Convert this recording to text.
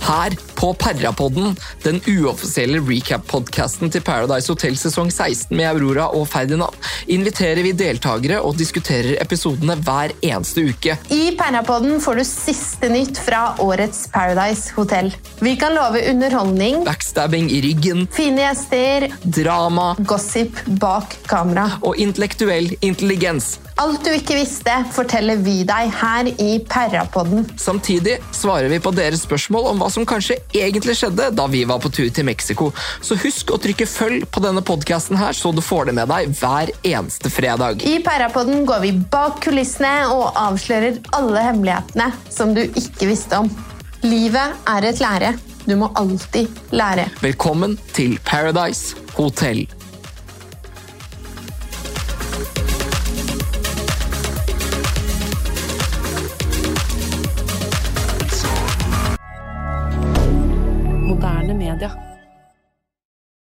her på Perrapodden, den uoffisielle recap-podkasten til Paradise Hotel sesong 16 med Aurora og Ferdinand, inviterer vi deltakere og diskuterer episodene hver eneste uke. I Perrapodden får du siste nytt fra årets Paradise Hotel. Vi kan love underholdning, Backstabbing i ryggen, fine gjester, drama gossip bak kamera. og intellektuell intelligens. Alt du ikke visste, forteller vi deg her i Perrapodden. Samtidig svarer vi på deres spørsmål om hva som kanskje egentlig skjedde da vi var på tur til Mexico. Så husk å trykke følg på denne podkasten her, så du får det med deg hver eneste fredag. I Perrapodden går vi bak kulissene og avslører alle hemmelighetene som du ikke visste om. Livet er et lære. Du må alltid lære. Velkommen til Paradise Hotel. Moderne media.